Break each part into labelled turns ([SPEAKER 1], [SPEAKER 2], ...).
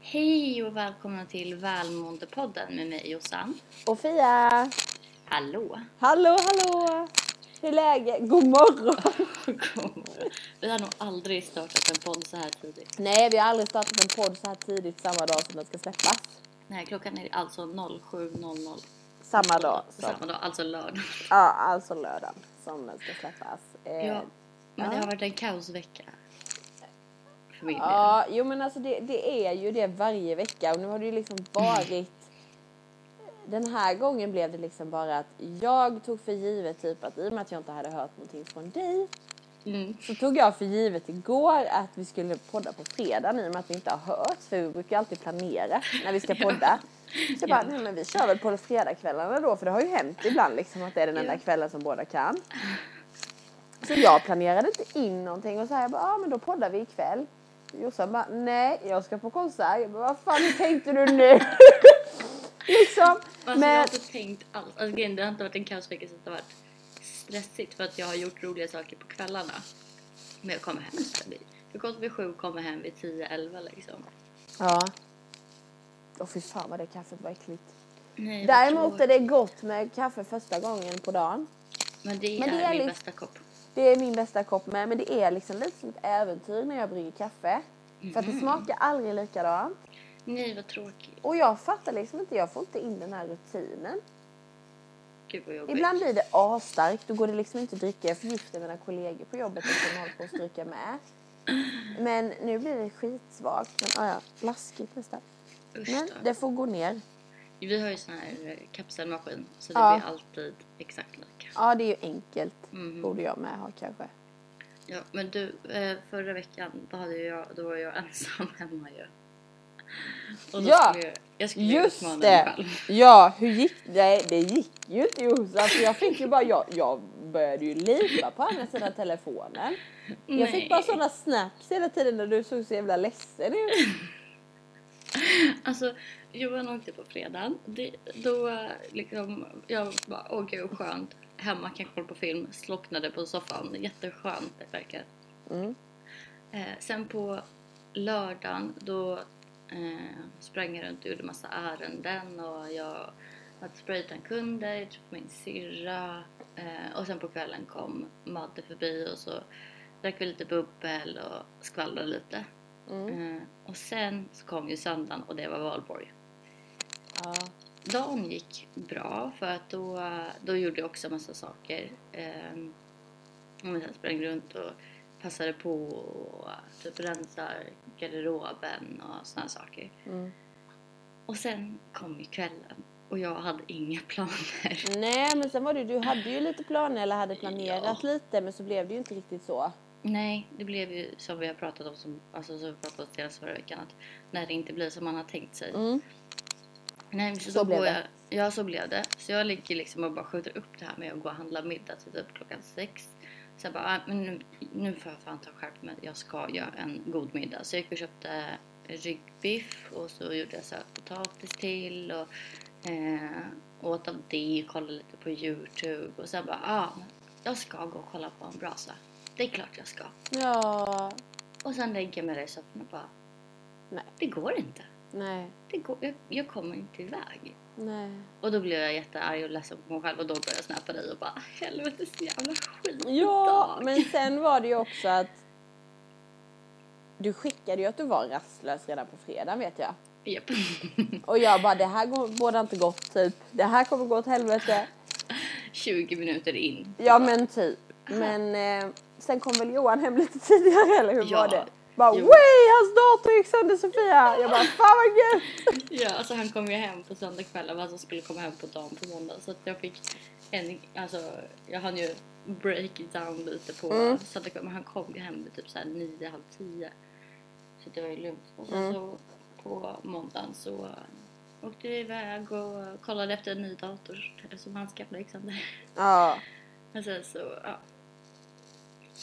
[SPEAKER 1] Hej och välkomna till Välmåendepodden med mig Jossan.
[SPEAKER 2] Och Fia!
[SPEAKER 1] Hallå!
[SPEAKER 2] Hallå, hallå! Hur är läget? God morgon!
[SPEAKER 1] God morgon. Vi har nog aldrig startat en podd så här tidigt.
[SPEAKER 2] Nej, vi har aldrig startat en podd så här tidigt samma dag som den ska släppas.
[SPEAKER 1] Nej, klockan är alltså 07.00.
[SPEAKER 2] Samma dag som...
[SPEAKER 1] Samma dag, alltså lördag.
[SPEAKER 2] Ja, alltså lördagen som den ska släppas. Eh,
[SPEAKER 1] Ja, men det
[SPEAKER 2] ja.
[SPEAKER 1] har varit en kaosvecka. För min del.
[SPEAKER 2] ja, jo men alltså det, det är ju det varje vecka och nu har det ju liksom varit... Den här gången blev det liksom bara att jag tog för givet typ att i och med att jag inte hade hört någonting från dig
[SPEAKER 1] Mm.
[SPEAKER 2] så tog jag för givet igår att vi skulle podda på fredagen i och med att vi inte har hört för vi brukar alltid planera när vi ska podda. Så jag bara, nej men vi kör väl på fredagskvällarna då för det har ju hänt ibland liksom att det är den enda
[SPEAKER 1] Ja.
[SPEAKER 2] kvällen som båda kan. Så jag planerade inte in någonting och så här, jag bara, ja ah, men då poddar vi ikväll. Jossan bara, nej jag ska på konsert. Jag bara, vad fan hur tänkte du nu? liksom.
[SPEAKER 1] Alltså, Jag har inte tänkt alls. Alltså, grejen, det har inte varit en kaosvecka så att det har varit stressigt för att jag har gjort roliga saker på kvällarna. Men jag kommer hem sen vid... Jag går vid sju och kommer hem vid 10-11 liksom.
[SPEAKER 2] Ja. Åh fy fan vad det kaffet var äckligt.
[SPEAKER 1] Nej, vad
[SPEAKER 2] Däremot är
[SPEAKER 1] tråkigt.
[SPEAKER 2] det gott med kaffe första gången på dagen.
[SPEAKER 1] Men det
[SPEAKER 2] Men
[SPEAKER 1] är,
[SPEAKER 2] det är
[SPEAKER 1] min
[SPEAKER 2] liksom-
[SPEAKER 1] bästa kopp.
[SPEAKER 2] Det är min bästa kopp med, men det är liksom lite som ett äventyr när jag brygger kaffe. För att det smakar aldrig likadant.
[SPEAKER 1] Nej vad tråkigt.
[SPEAKER 2] Och jag fattar liksom inte, jag får inte in den här rutinen.
[SPEAKER 1] Gud vad jobbigt.
[SPEAKER 2] Ibland blir det asstarkt, då går det liksom inte att dricka. Jag förgiftar mina kollegor på jobbet som håller på att stryka med. Men nu blir det skitsvagt, men ah, ja, blaskigt nästan.
[SPEAKER 1] Usch
[SPEAKER 2] Men
[SPEAKER 1] då.
[SPEAKER 2] det får gå ner.
[SPEAKER 1] Vi har ju sån här eh, kapselmaskin så det
[SPEAKER 2] Ja.
[SPEAKER 1] blir alltid exakt lika.
[SPEAKER 2] Ja, det är ju enkelt.
[SPEAKER 1] Mhm.
[SPEAKER 2] Borde jag med ha kanske.
[SPEAKER 1] Ja, men du, eh, förra veckan då, hade jag, då var jag ensam hemma ju. Och då
[SPEAKER 2] Ja,
[SPEAKER 1] skulle jag, jag skulle utmana
[SPEAKER 2] Just
[SPEAKER 1] mig
[SPEAKER 2] det!
[SPEAKER 1] själv.
[SPEAKER 2] Ja, hur gick det? Det gick ju inte Jossan för jag fick ju bara, jag, jag började ju lipa på andra sidan telefonen. Jag fick bara
[SPEAKER 1] Nej.
[SPEAKER 2] sådana snaps hela tiden när du såg så jävla ledsen ut.
[SPEAKER 1] Alltså, Johan åkte på fredagen. Det, då eh, liksom, jag bara, åh gud skönt. Hemma kan jag kolla på film, slocknade på soffan. Jätteskönt det verkar.
[SPEAKER 2] Mm.
[SPEAKER 1] Eh, sen på lördagen då eh, sprang jag runt och gjorde massa ärenden och jag hade sprayat en kund, jag träffade min syrra eh, och sen på kvällen kom Madde förbi och så drack vi lite bubbel och skvallrade lite.
[SPEAKER 2] Mm.
[SPEAKER 1] Eh, och sen så kom ju söndagen och det var valborg.
[SPEAKER 2] Ja.
[SPEAKER 1] Dagen gick bra för att då, då gjorde jag också massa saker. Ehm, och jag sprang runt och passade på och typ rensa garderoben och sådana saker.
[SPEAKER 2] Mm.
[SPEAKER 1] Och sen kom ju kvällen och jag hade inga planer.
[SPEAKER 2] Nej men sen var det du hade ju lite planer eller hade planerat lite men så blev det ju inte riktigt så.
[SPEAKER 1] Nej, det blev ju som vi har pratat om, som, alltså som vi pratade om senast förra veckan, att när det inte blir som man har tänkt sig.
[SPEAKER 2] Mm.
[SPEAKER 1] Nej, men så,
[SPEAKER 2] Så
[SPEAKER 1] då
[SPEAKER 2] blev
[SPEAKER 1] går
[SPEAKER 2] det.
[SPEAKER 1] Jag, ja, så blev det. Så jag ligger liksom och bara skjuter upp det här med att gå och handla middag till typ klockan sex. Så jag bara, ah, men nu, nu får jag fan ta och skärpa mig. Jag ska göra en god middag. Så jag gick och köpte ryggbiff och så gjorde jag sötpotatis till och eh, åt av det, kollade lite på Youtube och sen bara, ah, men jag ska gå och kolla på en brasa. Det är klart jag ska.
[SPEAKER 2] Ja.
[SPEAKER 1] Och sen lägger jag mig där i soffan och bara,
[SPEAKER 2] Nej.
[SPEAKER 1] det går inte.
[SPEAKER 2] Nej.
[SPEAKER 1] Det går, jag, jag kommer inte iväg.
[SPEAKER 2] Nej.
[SPEAKER 1] Och då blev jag jättearg och ledsen på mig själv och då började jag snappa dig och bara helvete så jävla skit
[SPEAKER 2] Ja
[SPEAKER 1] idag."
[SPEAKER 2] men sen var det ju också att du skickade ju att du var rastlös redan på fredagen vet jag.
[SPEAKER 1] Japp.
[SPEAKER 2] Och jag bara, det här går- bådar inte gott typ. Det här kommer gå åt helvete.
[SPEAKER 1] 20 minuter in.
[SPEAKER 2] Ja men typ. Men eh, sen kom väl Johan hem lite tidigare eller hur
[SPEAKER 1] Ja.
[SPEAKER 2] var det? Bara
[SPEAKER 1] Jo.
[SPEAKER 2] way hans dator gick sönder Sofia! Jag bara fan vad gött!
[SPEAKER 1] Ja, alltså han kom ju hem på söndagskvällen men han skulle komma hem på dagen på måndag så att jag fick en, alltså jag hann ju break down lite på
[SPEAKER 2] Mm.
[SPEAKER 1] söndagskvällen men han kom ju hem vid typ såhär 9, halv 10. Så det var ju lugnt. Och sen
[SPEAKER 2] Mm.
[SPEAKER 1] så på måndagen så åkte vi iväg och kollade efter en ny dator som han skaffade liksom där.
[SPEAKER 2] Ja.
[SPEAKER 1] Men sen så, ja.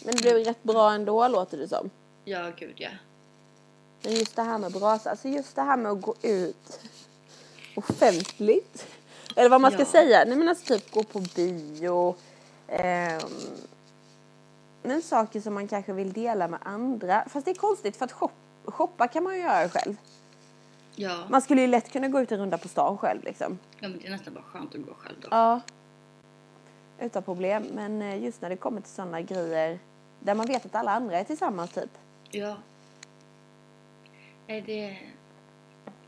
[SPEAKER 2] Men det blev rätt bra ändå låter det som.
[SPEAKER 1] Ja, gud ja.
[SPEAKER 2] Men just det här med brasa, alltså just det här med att gå ut offentligt. Eller vad man ska
[SPEAKER 1] Ja.
[SPEAKER 2] säga. Nej men alltså typ gå på bio. ehm, men saker som man kanske vill dela med andra. Fast det är konstigt för att shop, shoppa kan man ju göra själv.
[SPEAKER 1] Ja.
[SPEAKER 2] Man skulle ju lätt kunna gå ut en runda på stan själv liksom.
[SPEAKER 1] ja, men det är nästan bara skönt att gå själv då.
[SPEAKER 2] Ja. Utan problem. Men eh, just när det kommer till sådana grejer där man vet att alla andra är tillsammans typ.
[SPEAKER 1] Ja. Nej, det...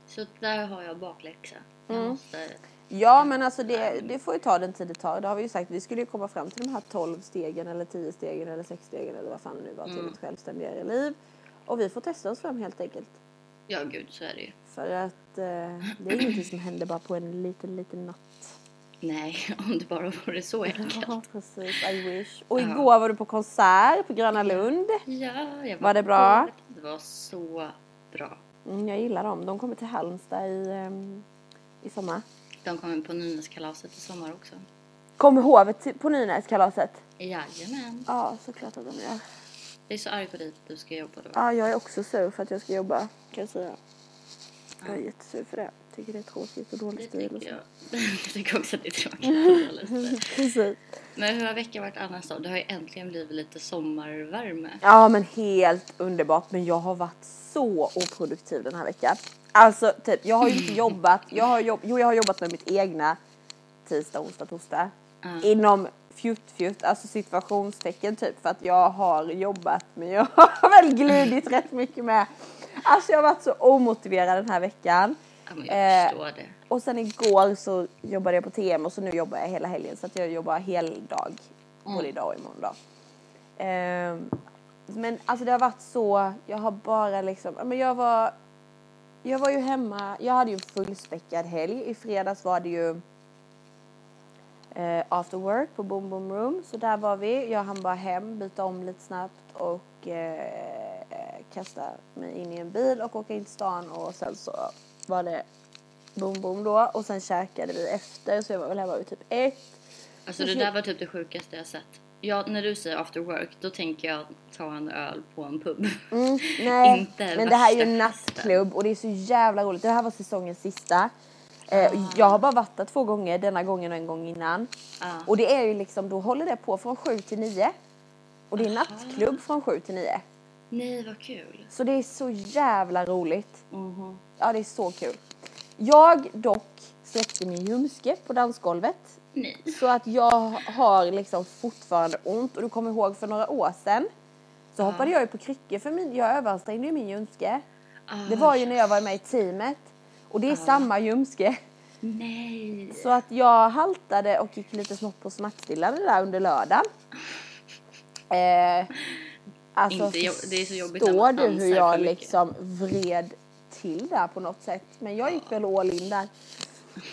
[SPEAKER 1] Så där har jag bakläxa. Jag
[SPEAKER 2] Mm.
[SPEAKER 1] måste...
[SPEAKER 2] Ja men alltså det, det får ju ta den tid det tar. Det har vi ju sagt. Vi skulle ju komma fram till de här 12 stegen eller 10 stegen eller 6 stegen eller vad fan det nu var till ett självständigare liv. Och vi får testa oss fram helt enkelt.
[SPEAKER 1] Ja, gud, så är det ju.
[SPEAKER 2] För att eh, det är ingenting som händer bara på en liten, liten natt.
[SPEAKER 1] Nej, om det bara vore så enkelt.
[SPEAKER 2] Ja, precis. I wish. Och igår var du på konsert på Gröna Lund.
[SPEAKER 1] Ja, jag
[SPEAKER 2] Var det bra?
[SPEAKER 1] Det var så bra.
[SPEAKER 2] Mm, jag gillar dem. De kommer till Halmstad i, ehm, i sommar.
[SPEAKER 1] De kommer på Nynäskalaset i sommar också.
[SPEAKER 2] Kommer hovet till- på Nynäskalaset?
[SPEAKER 1] Jajamän.
[SPEAKER 2] Ja, såklart att de gör.
[SPEAKER 1] Jag är så arg på dig att du ska jobba då.
[SPEAKER 2] Ja, jag är också sur för att jag ska jobba kan jag säga. Jag är jättesur för det. Tycker det är tråkigt och dålig
[SPEAKER 1] Det
[SPEAKER 2] stil och
[SPEAKER 1] tycker
[SPEAKER 2] så.
[SPEAKER 1] jag. jag tycker också att det är tråkigt. att hålla lite.
[SPEAKER 2] Precis.
[SPEAKER 1] Men hur har veckan varit annars då? Det har ju äntligen blivit lite sommarvärme.
[SPEAKER 2] Ja, men helt underbart. Men jag har varit så oproduktiv den här veckan. Alltså, typ, jag har ju inte jobbat. Jag har jobb, jo, jag har jobbat med mitt egna tisdag, onsdag, torsdag. Inom fjutt-fjutt, alltså situationstecken typ. För att jag har jobbat, men jag har väl glidit rätt mycket med. Alltså, jag har varit så omotiverad den här veckan.
[SPEAKER 1] Ja, men jag
[SPEAKER 2] Eh,
[SPEAKER 1] förstår det.
[SPEAKER 2] Och sen igår så jobbade jag på TM och så nu jobbar jag hela helgen så att jag jobbar heldag både idag och imorgon dag. Ehm, men alltså det har varit så, jag har bara liksom, ja, men jag var, jag var ju hemma, jag hade ju en fullspäckad helg. I fredags var det ju eh, after work på Boom Boom Room så där var vi. Jag hann bara hem, byta om lite snabbt och eh, kasta mig in i en bil och åka in till stan och sen så var det Boom Boom då och sen käkade vi efter så jag var väl hemma vid typ ett.
[SPEAKER 1] Alltså det där var typ det sjukaste jag sett. Ja, när du säger after work, då tänker jag ta en öl på en pub.
[SPEAKER 2] Mm. Nej,
[SPEAKER 1] Inte
[SPEAKER 2] men det här är ju
[SPEAKER 1] värsta
[SPEAKER 2] en
[SPEAKER 1] festen.
[SPEAKER 2] nattklubb och det är så jävla roligt. Det här var säsongens sista.
[SPEAKER 1] Ah.
[SPEAKER 2] Eh, Jag har bara varit där två gånger, denna gången och en gång innan.
[SPEAKER 1] Ja.
[SPEAKER 2] Och det är ju liksom, då håller det på från sju till nio. Och det är nattklubb från sju till nio.
[SPEAKER 1] Nej, vad kul.
[SPEAKER 2] Så det är så jävla roligt.
[SPEAKER 1] Mhm.
[SPEAKER 2] Ja, det är så kul. Jag dock släppte min ljumske på dansgolvet.
[SPEAKER 1] Nej.
[SPEAKER 2] Så att jag har liksom fortfarande ont. Och du kommer ihåg för några år sedan så hoppade jag ju på kryckor för min, jag överansträngde ju min ljumske.
[SPEAKER 1] Ah,
[SPEAKER 2] Det var ju när jag var med i teamet. Och det är samma ljumske.
[SPEAKER 1] Nej.
[SPEAKER 2] Så att jag haltade och gick lite smått på smärtstillande där under lördagen. Eh, alltså,
[SPEAKER 1] Inte jobb- det är så jobbigt när
[SPEAKER 2] förstår
[SPEAKER 1] man
[SPEAKER 2] du
[SPEAKER 1] dansar
[SPEAKER 2] hur jag
[SPEAKER 1] för mycket.
[SPEAKER 2] liksom vred till där på något sätt? Men jag gick väl all in där.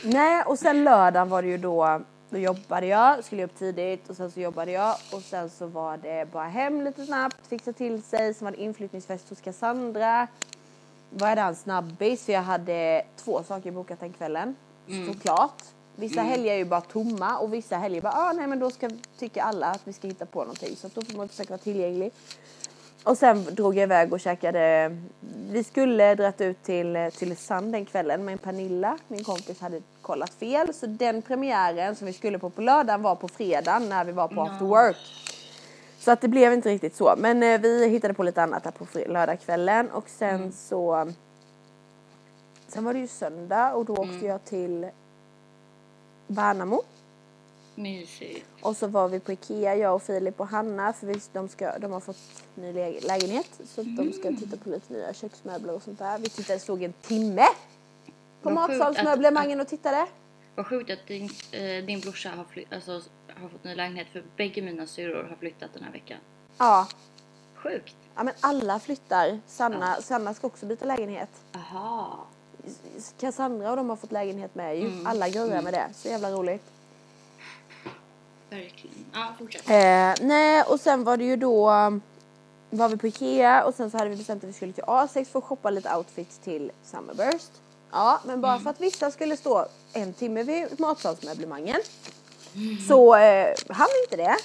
[SPEAKER 2] Nej, och sen lördagen var det ju då, då jobbade jag, skulle upp tidigt och sen så jobbade jag och sen så var det bara hem lite snabbt, fixa till sig, sen var det inflyttningsfest hos Cassandra. Var jag där en snabbis för jag hade två saker bokat den kvällen.
[SPEAKER 1] Mm.
[SPEAKER 2] Såklart. Vissa helger är ju bara tomma och vissa helger bara, ah, nej men då ska, tycker alla att vi ska hitta på någonting så att då får man försöka vara tillgänglig. Och sen drog jag iväg och käkade. Vi skulle dragit ut till, till Sand den kvällen men Pernilla, min kompis, hade kollat fel. Så den premiären som vi skulle på på lördagen var på fredagen när vi var på after work. Så att det blev inte riktigt så. Men eh, vi hittade på lite annat här på fre- lördagskvällen och sen så... Sen var det ju söndag och då åkte jag till Värnamo.
[SPEAKER 1] Mysigt.
[SPEAKER 2] Och så var vi på Ikea, jag och Filip och Hanna för vi, de, ska, de har fått ny lä- lägenhet så att de
[SPEAKER 1] Mm.
[SPEAKER 2] ska titta på lite nya köksmöbler och sånt där. Vi tittade, slog en timme på
[SPEAKER 1] Vad sjukt
[SPEAKER 2] matsalsmöblemangen och tittade.
[SPEAKER 1] Vad sjukt att din, eh, din brorsa har, fly- alltså, har fått ny lägenhet för bägge mina syrror har flyttat den här veckan.
[SPEAKER 2] Ja,
[SPEAKER 1] Sjukt.
[SPEAKER 2] ja men alla flyttar. Sanna, Sanna ska också byta lägenhet.
[SPEAKER 1] Aha.
[SPEAKER 2] Cassandra och de har fått lägenhet med ju.
[SPEAKER 1] Mm.
[SPEAKER 2] Alla grejer med det. Så jävla roligt.
[SPEAKER 1] Verkligen. Ja, fortsätt.
[SPEAKER 2] Eh, nej, och sen var det ju då var vi på Ikea och sen så hade vi bestämt att vi skulle till A6 för att shoppa lite outfits till Summerburst. Ja, men bara för att vissa skulle stå en timme vid matsalsmöblemangen så eh, hann vi inte det.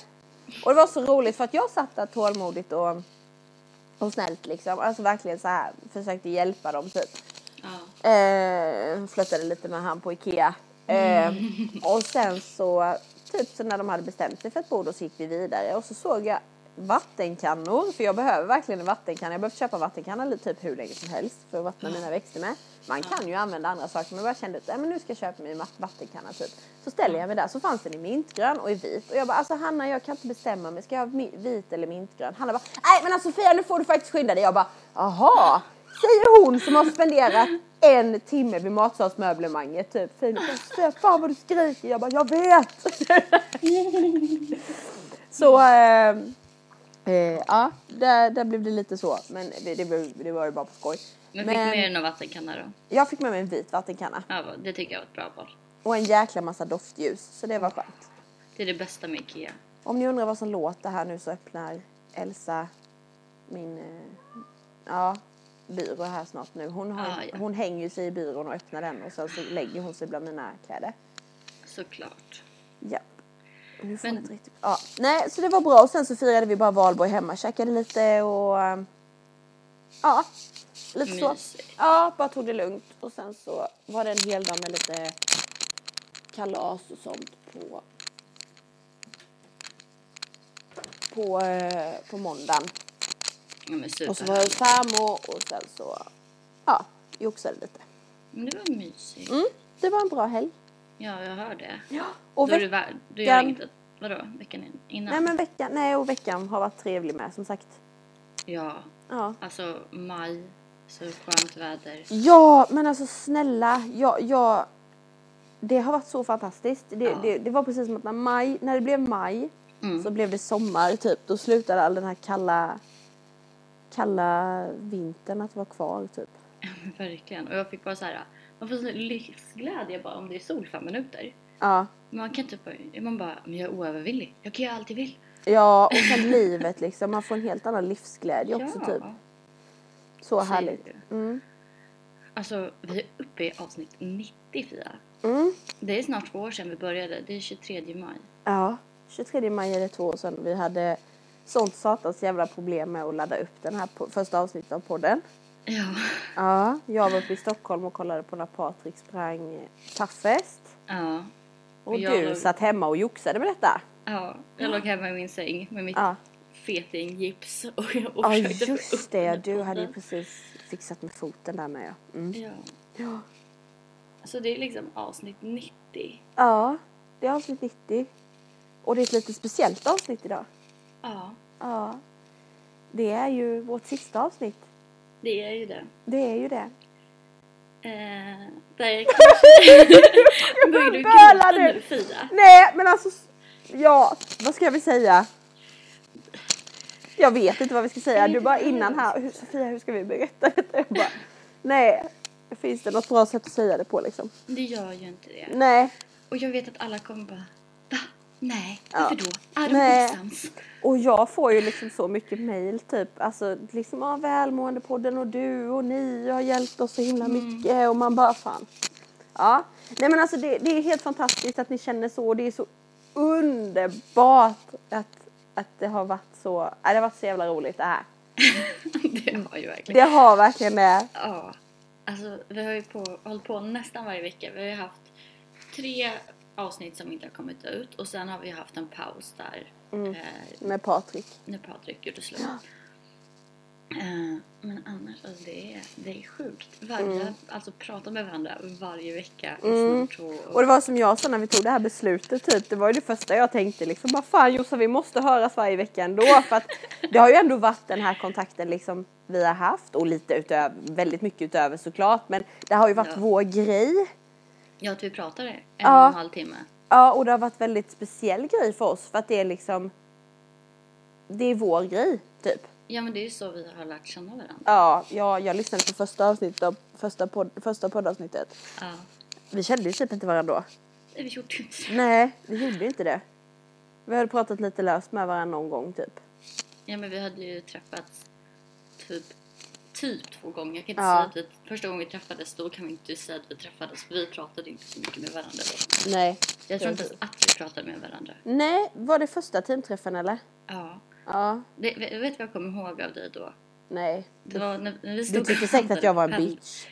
[SPEAKER 2] Och det var så roligt för att jag satt där tålmodigt och, och snällt liksom. Alltså verkligen så här försökte hjälpa dem typ.
[SPEAKER 1] Ja.
[SPEAKER 2] Eh, flörtade lite med han på Ikea. Eh, och sen så, typ så när de hade bestämt sig för ett bord och så gick vi vidare och så såg jag vattenkannor, för jag behöver verkligen en vattenkanna. Jag behöver köpa vattenkanna lite typ hur länge som helst för att vattna mina växter med. Man kan ju använda andra saker men jag bara kände att "Nej, men nu ska jag köpa mig en vat- vattenkanna typ. Så ställer jag mig där så fanns den i mintgrön och i vit och jag bara alltså Hanna jag kan inte bestämma mig, ska jag ha mi- vit eller mintgrön? Hanna bara nej men alltså Sofia nu får du faktiskt skynda dig. Jag bara aha Säger hon som har spenderat en timme vid matsalsmöblemanget typ. Filip bara, "Sofia, fan vad du skriker. Jag bara jag vet. Så, eh, eh, ja, där, där blev det lite så. Men det, det, blev- det var ju bara på skoj.
[SPEAKER 1] Men fick
[SPEAKER 2] Men-
[SPEAKER 1] med dig någon vattenkanna då?
[SPEAKER 2] Jag fick med mig en vit vattenkanna
[SPEAKER 1] Ja, vad- det tycker jag var ett bra val.
[SPEAKER 2] och en jäkla massa doftljus, så det var skönt.
[SPEAKER 1] Det är det bästa med IKEA.
[SPEAKER 2] Om ni undrar vad som låter här nu så öppnar Elsa min eh, ja, byrå här snart nu. Hon, har,
[SPEAKER 1] Ah, ja.
[SPEAKER 2] hon hänger ju sig i byrån och öppnar den och sen så lägger hon sig bland mina kläder.
[SPEAKER 1] Såklart.
[SPEAKER 2] Ja. Nu får
[SPEAKER 1] Men-
[SPEAKER 2] jag inte riktigt... Ja. Nej, så det var bra. Och sen så firade vi bara valborg hemma, käkade lite och... eh, Ja, lite så.
[SPEAKER 1] Mysigt.
[SPEAKER 2] Ja, bara tog det lugnt. Och sen så var det en hel dag med lite kalas och sånt på... På, eh, på måndagen.
[SPEAKER 1] Ja, men super.
[SPEAKER 2] Och så var jag hos farmor och sen så... Ja, joxade lite.
[SPEAKER 1] Men det var mysigt.
[SPEAKER 2] Mm, det var en bra helg.
[SPEAKER 1] Ja, jag hör det.
[SPEAKER 2] Ja, och
[SPEAKER 1] då är
[SPEAKER 2] veck-
[SPEAKER 1] du, vär- du gör
[SPEAKER 2] veckan-
[SPEAKER 1] inget, vadå, veckan in- innan?
[SPEAKER 2] Nej, men veckan, nej, och veckan har varit trevlig med, som sagt.
[SPEAKER 1] Ja,
[SPEAKER 2] Ja.
[SPEAKER 1] alltså maj, så skönt väder.
[SPEAKER 2] Ja, men alltså snälla. Jag, jag, det har varit så fantastiskt. Det,
[SPEAKER 1] Ja.
[SPEAKER 2] det, det var precis som att när, maj, när det blev maj
[SPEAKER 1] Mm.
[SPEAKER 2] så blev det sommar typ. Då slutade all den här kalla, kalla vintern att vara kvar typ.
[SPEAKER 1] Verkligen. Och jag fick bara så här, man får sån livsglädje bara om det är sol fem minuter.
[SPEAKER 2] Ja.
[SPEAKER 1] Men man kan inte bara, man bara, men jag är oövervillig. Jag kan göra allt jag vill.
[SPEAKER 2] Ja, och sen livet liksom. Man får en helt annan livsglädje också typ. Så
[SPEAKER 1] säger
[SPEAKER 2] härligt.
[SPEAKER 1] du.
[SPEAKER 2] Mm.
[SPEAKER 1] Alltså, vi är uppe i avsnitt 90 Fia.
[SPEAKER 2] Mm.
[SPEAKER 1] Det är snart två år sedan vi började. Det är 23 maj.
[SPEAKER 2] Ja. 23 maj är det två år sedan vi hade sånt satans jävla problem med att ladda upp den här po- första avsnittet av podden.
[SPEAKER 1] Ja.
[SPEAKER 2] Ja, jag var uppe i Stockholm och kollade på när Patrik sprang taffest.
[SPEAKER 1] Ja.
[SPEAKER 2] Och
[SPEAKER 1] Och jag
[SPEAKER 2] du
[SPEAKER 1] låg-
[SPEAKER 2] satt hemma och joxade med detta.
[SPEAKER 1] ja. Jag låg hemma i min säng med mitt
[SPEAKER 2] Ja,
[SPEAKER 1] fetinggips och jag och
[SPEAKER 2] ja
[SPEAKER 1] försökte få upp
[SPEAKER 2] just det.
[SPEAKER 1] den
[SPEAKER 2] Du
[SPEAKER 1] på
[SPEAKER 2] hade ju
[SPEAKER 1] den.
[SPEAKER 2] precis fixat med foten där med. Ja, mm.
[SPEAKER 1] Ja.
[SPEAKER 2] ja.
[SPEAKER 1] Så det är liksom avsnitt 90.
[SPEAKER 2] ja det är avsnitt 90. Och det är ett lite speciellt avsnitt idag.
[SPEAKER 1] Ja,
[SPEAKER 2] Ja. Det är ju vårt sista avsnitt.
[SPEAKER 1] det är ju det.
[SPEAKER 2] Det är ju det.
[SPEAKER 1] Eh, där kanske... Börjar du gråta
[SPEAKER 2] böla nu?
[SPEAKER 1] nu Fia?
[SPEAKER 2] Nej, men alltså. Ja, vad ska vi säga? Jag vet inte vad vi ska säga. Du bara innan här. Hur, Sofia, hur ska vi berätta detta? Jag bara, nej, finns det något bra sätt att säga det på liksom?
[SPEAKER 1] Det gör ju inte det.
[SPEAKER 2] Nej.
[SPEAKER 1] Och jag vet att alla kommer bara Va? Nej, varför
[SPEAKER 2] Ja.
[SPEAKER 1] då? Är de
[SPEAKER 2] Nej.
[SPEAKER 1] osams?
[SPEAKER 2] Och jag får ju liksom så mycket mail typ. Alltså liksom ah, välmåendepodden och du och ni har hjälpt oss så himla mycket och man bara fan. Ja, nej men alltså det, det är helt fantastiskt att ni känner så och det är så underbart att, att det har varit så, ja, det har varit så jävla roligt det här.
[SPEAKER 1] det har ju verkligen.
[SPEAKER 2] Det har verkligen det.
[SPEAKER 1] Ja. Alltså, vi har ju på, hållit på nästan varje vecka. Vi har ju haft tre avsnitt som inte har kommit ut och sen har vi haft en paus där
[SPEAKER 2] Mm.
[SPEAKER 1] eh,
[SPEAKER 2] Med Patrik.
[SPEAKER 1] när Patrik gjorde slut. Eh, men annars, alltså det är, det är sjukt. Varje,
[SPEAKER 2] Mm.
[SPEAKER 1] Alltså prata med varandra varje vecka i snart två år.
[SPEAKER 2] Och det var som jag sa när vi tog det här beslutet typ, det var ju det första jag tänkte liksom bara fan Jossan vi måste höras varje vecka ändå för att det har ju ändå varit den här kontakten liksom vi har haft och lite utöver, väldigt mycket utöver såklart men det har ju varit
[SPEAKER 1] Ja.
[SPEAKER 2] vår grej.
[SPEAKER 1] Ja, att vi pratade en
[SPEAKER 2] Ja.
[SPEAKER 1] och en halv timme.
[SPEAKER 2] Ja och det har varit väldigt speciell grej för oss för att det är liksom det är vår grej typ.
[SPEAKER 1] Ja, men det är ju så vi har lärt känna varandra.
[SPEAKER 2] Ja, jag, jag lyssnade på första avsnittet av första, podd, första poddavsnittet.
[SPEAKER 1] Ja.
[SPEAKER 2] Vi kände ju typ inte varandra då.
[SPEAKER 1] Det vi gjorde ju inte så.
[SPEAKER 2] Nej, vi gjorde inte det. Vi hade pratat lite löst med varandra någon gång typ.
[SPEAKER 1] Ja, men vi hade ju träffats typ, typ två gånger. Jag kan inte
[SPEAKER 2] Ja.
[SPEAKER 1] säga att vi, första gången vi träffades då kan vi inte säga att vi träffades för vi pratade inte så mycket med varandra då.
[SPEAKER 2] Nej.
[SPEAKER 1] Jag tror inte ens att vi pratade med varandra.
[SPEAKER 2] Nej, var det första teamträffen eller?
[SPEAKER 1] Ja.
[SPEAKER 2] Ja.
[SPEAKER 1] Det, vet vet du vad jag kommer ihåg av dig då?
[SPEAKER 2] Nej.
[SPEAKER 1] Det var när, när vi stod
[SPEAKER 2] Du
[SPEAKER 1] och
[SPEAKER 2] tyckte säkert
[SPEAKER 1] väntade
[SPEAKER 2] att jag var
[SPEAKER 1] på
[SPEAKER 2] en
[SPEAKER 1] pen-
[SPEAKER 2] bitch.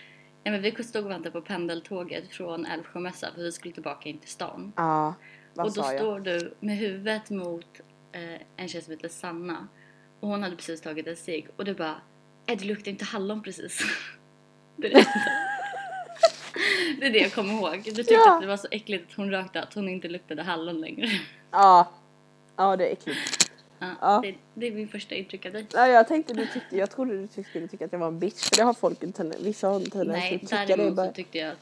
[SPEAKER 1] Ja, men vi stod och väntade på pendeltåget från Älvsjömässa för vi skulle tillbaka in till stan.
[SPEAKER 2] Ja. Vad
[SPEAKER 1] och då
[SPEAKER 2] sa jag?
[SPEAKER 1] står du med huvudet mot eh, en tjej som heter Sanna och hon hade precis tagit en cigg och du bara Äh, det luktar inte hallon precis. Det är det, det, är det jag kommer ihåg. Du tyckte
[SPEAKER 2] Ja.
[SPEAKER 1] att det var så äckligt att hon rökte att hon inte luktade hallon längre.
[SPEAKER 2] Ja. Ja, det är äckligt.
[SPEAKER 1] Ja,
[SPEAKER 2] Ja.
[SPEAKER 1] Det, det är min första intryck av dig.
[SPEAKER 2] Nej, jag tänkte du tyckte, jag trodde du tyckte- skulle tycka att jag var en bitch för det har folk en tendens, vissa har en tendens
[SPEAKER 1] Nej,
[SPEAKER 2] att tycka det.
[SPEAKER 1] däremot så
[SPEAKER 2] Bara,
[SPEAKER 1] tyckte jag att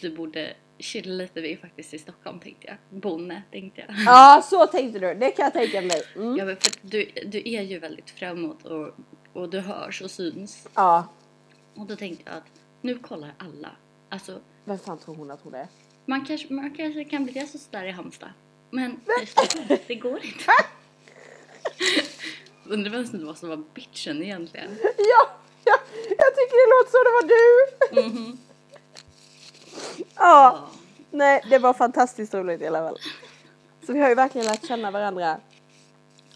[SPEAKER 1] du borde chilla lite. Vi är faktiskt i Stockholm tänkte jag. Bonne tänkte jag.
[SPEAKER 2] ja, så tänkte du. Det kan jag tänka mig. Mm.
[SPEAKER 1] Ja, men för att du, du är ju väldigt framåt och, och du hörs och syns.
[SPEAKER 2] Ja,
[SPEAKER 1] Och då tänkte jag att nu kollar alla. Alltså,
[SPEAKER 2] vem fan tror hon att hon är?
[SPEAKER 1] man kanske, man kanske kan bete sig sådär i Halmstad. Men i Stockholm, det går inte. Undrar vem som var som var bitchen egentligen.
[SPEAKER 2] Ja, ja, jag tycker det låter som det var du.
[SPEAKER 1] Mhm.
[SPEAKER 2] Ja,
[SPEAKER 1] Ja.
[SPEAKER 2] nej, det var fantastiskt roligt i alla fall. Så vi har ju verkligen lärt känna varandra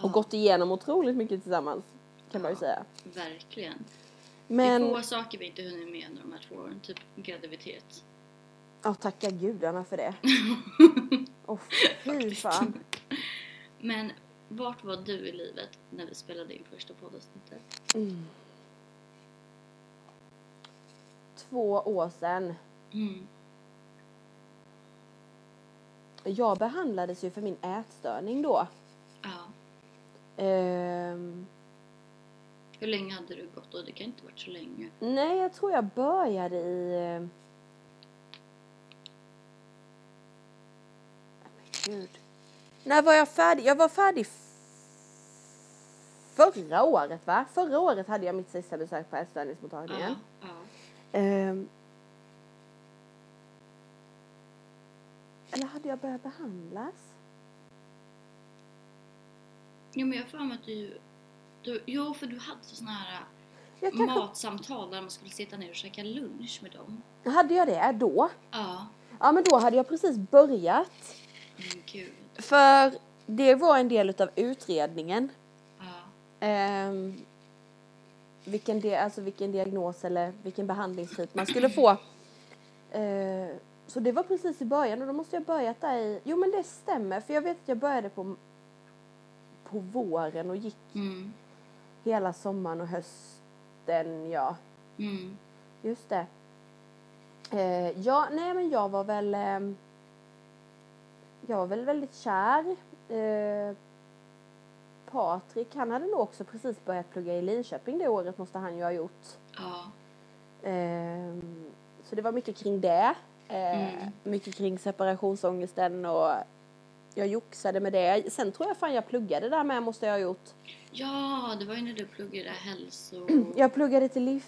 [SPEAKER 2] och gått igenom otroligt mycket tillsammans kan man ju säga.
[SPEAKER 1] Verkligen. Det är
[SPEAKER 2] Men,
[SPEAKER 1] få saker vi inte hunnit med under de här två åren. Typ graviditet.
[SPEAKER 2] ja tacka gudarna för det. Åh fy fan.
[SPEAKER 1] Men vart var du i livet när vi spelade in första poddavsnittet?
[SPEAKER 2] Två år sedan.
[SPEAKER 1] Mm.
[SPEAKER 2] Jag behandlades ju för min ätstörning då.
[SPEAKER 1] Ja.
[SPEAKER 2] Ehm,
[SPEAKER 1] Hur länge hade du gått då? Det kan inte ha varit så länge.
[SPEAKER 2] nej, jag tror jag började i... eh, Men gud. När var jag färdig? Jag var färdig f- förra året va? Förra året hade jag mitt sista besök på ätstörningsmottagningen.
[SPEAKER 1] Ja. ja.
[SPEAKER 2] Ehm. Eller hade jag börjat behandlas?
[SPEAKER 1] Jo men jag har för mig att du, du... Jo för du hade såna här
[SPEAKER 2] Jag kanske...
[SPEAKER 1] matsamtal där man skulle sitta ner och käka lunch med dem.
[SPEAKER 2] Hade jag det då?
[SPEAKER 1] Ja.
[SPEAKER 2] Ja men då hade jag precis börjat.
[SPEAKER 1] Men gud.
[SPEAKER 2] För det var en del utav utredningen.
[SPEAKER 1] Ja.
[SPEAKER 2] Ehm, vilken, di- alltså vilken diagnos eller vilken behandlingstyp man skulle få. Ehm, så det var precis i början och då måste jag börjat där i... Jo men det stämmer för jag vet att jag började på, på våren och gick
[SPEAKER 1] Mm.
[SPEAKER 2] hela sommaren och hösten ja.
[SPEAKER 1] Mm.
[SPEAKER 2] Just det. Eh, ja, nej men jag var väl... ehm, jag var väl väldigt kär. Eh, Patrik, han hade nog också precis börjat plugga i Linköping det året måste han ju ha gjort.
[SPEAKER 1] Ja.
[SPEAKER 2] Ehm, så det var mycket kring det. Eh,
[SPEAKER 1] Mm.
[SPEAKER 2] Mycket kring separationsångesten och jag joxade med det. Sen tror jag fan jag pluggade där med måste jag ha gjort.
[SPEAKER 1] Ja, det var ju när du pluggade hälso...
[SPEAKER 2] Jag pluggade till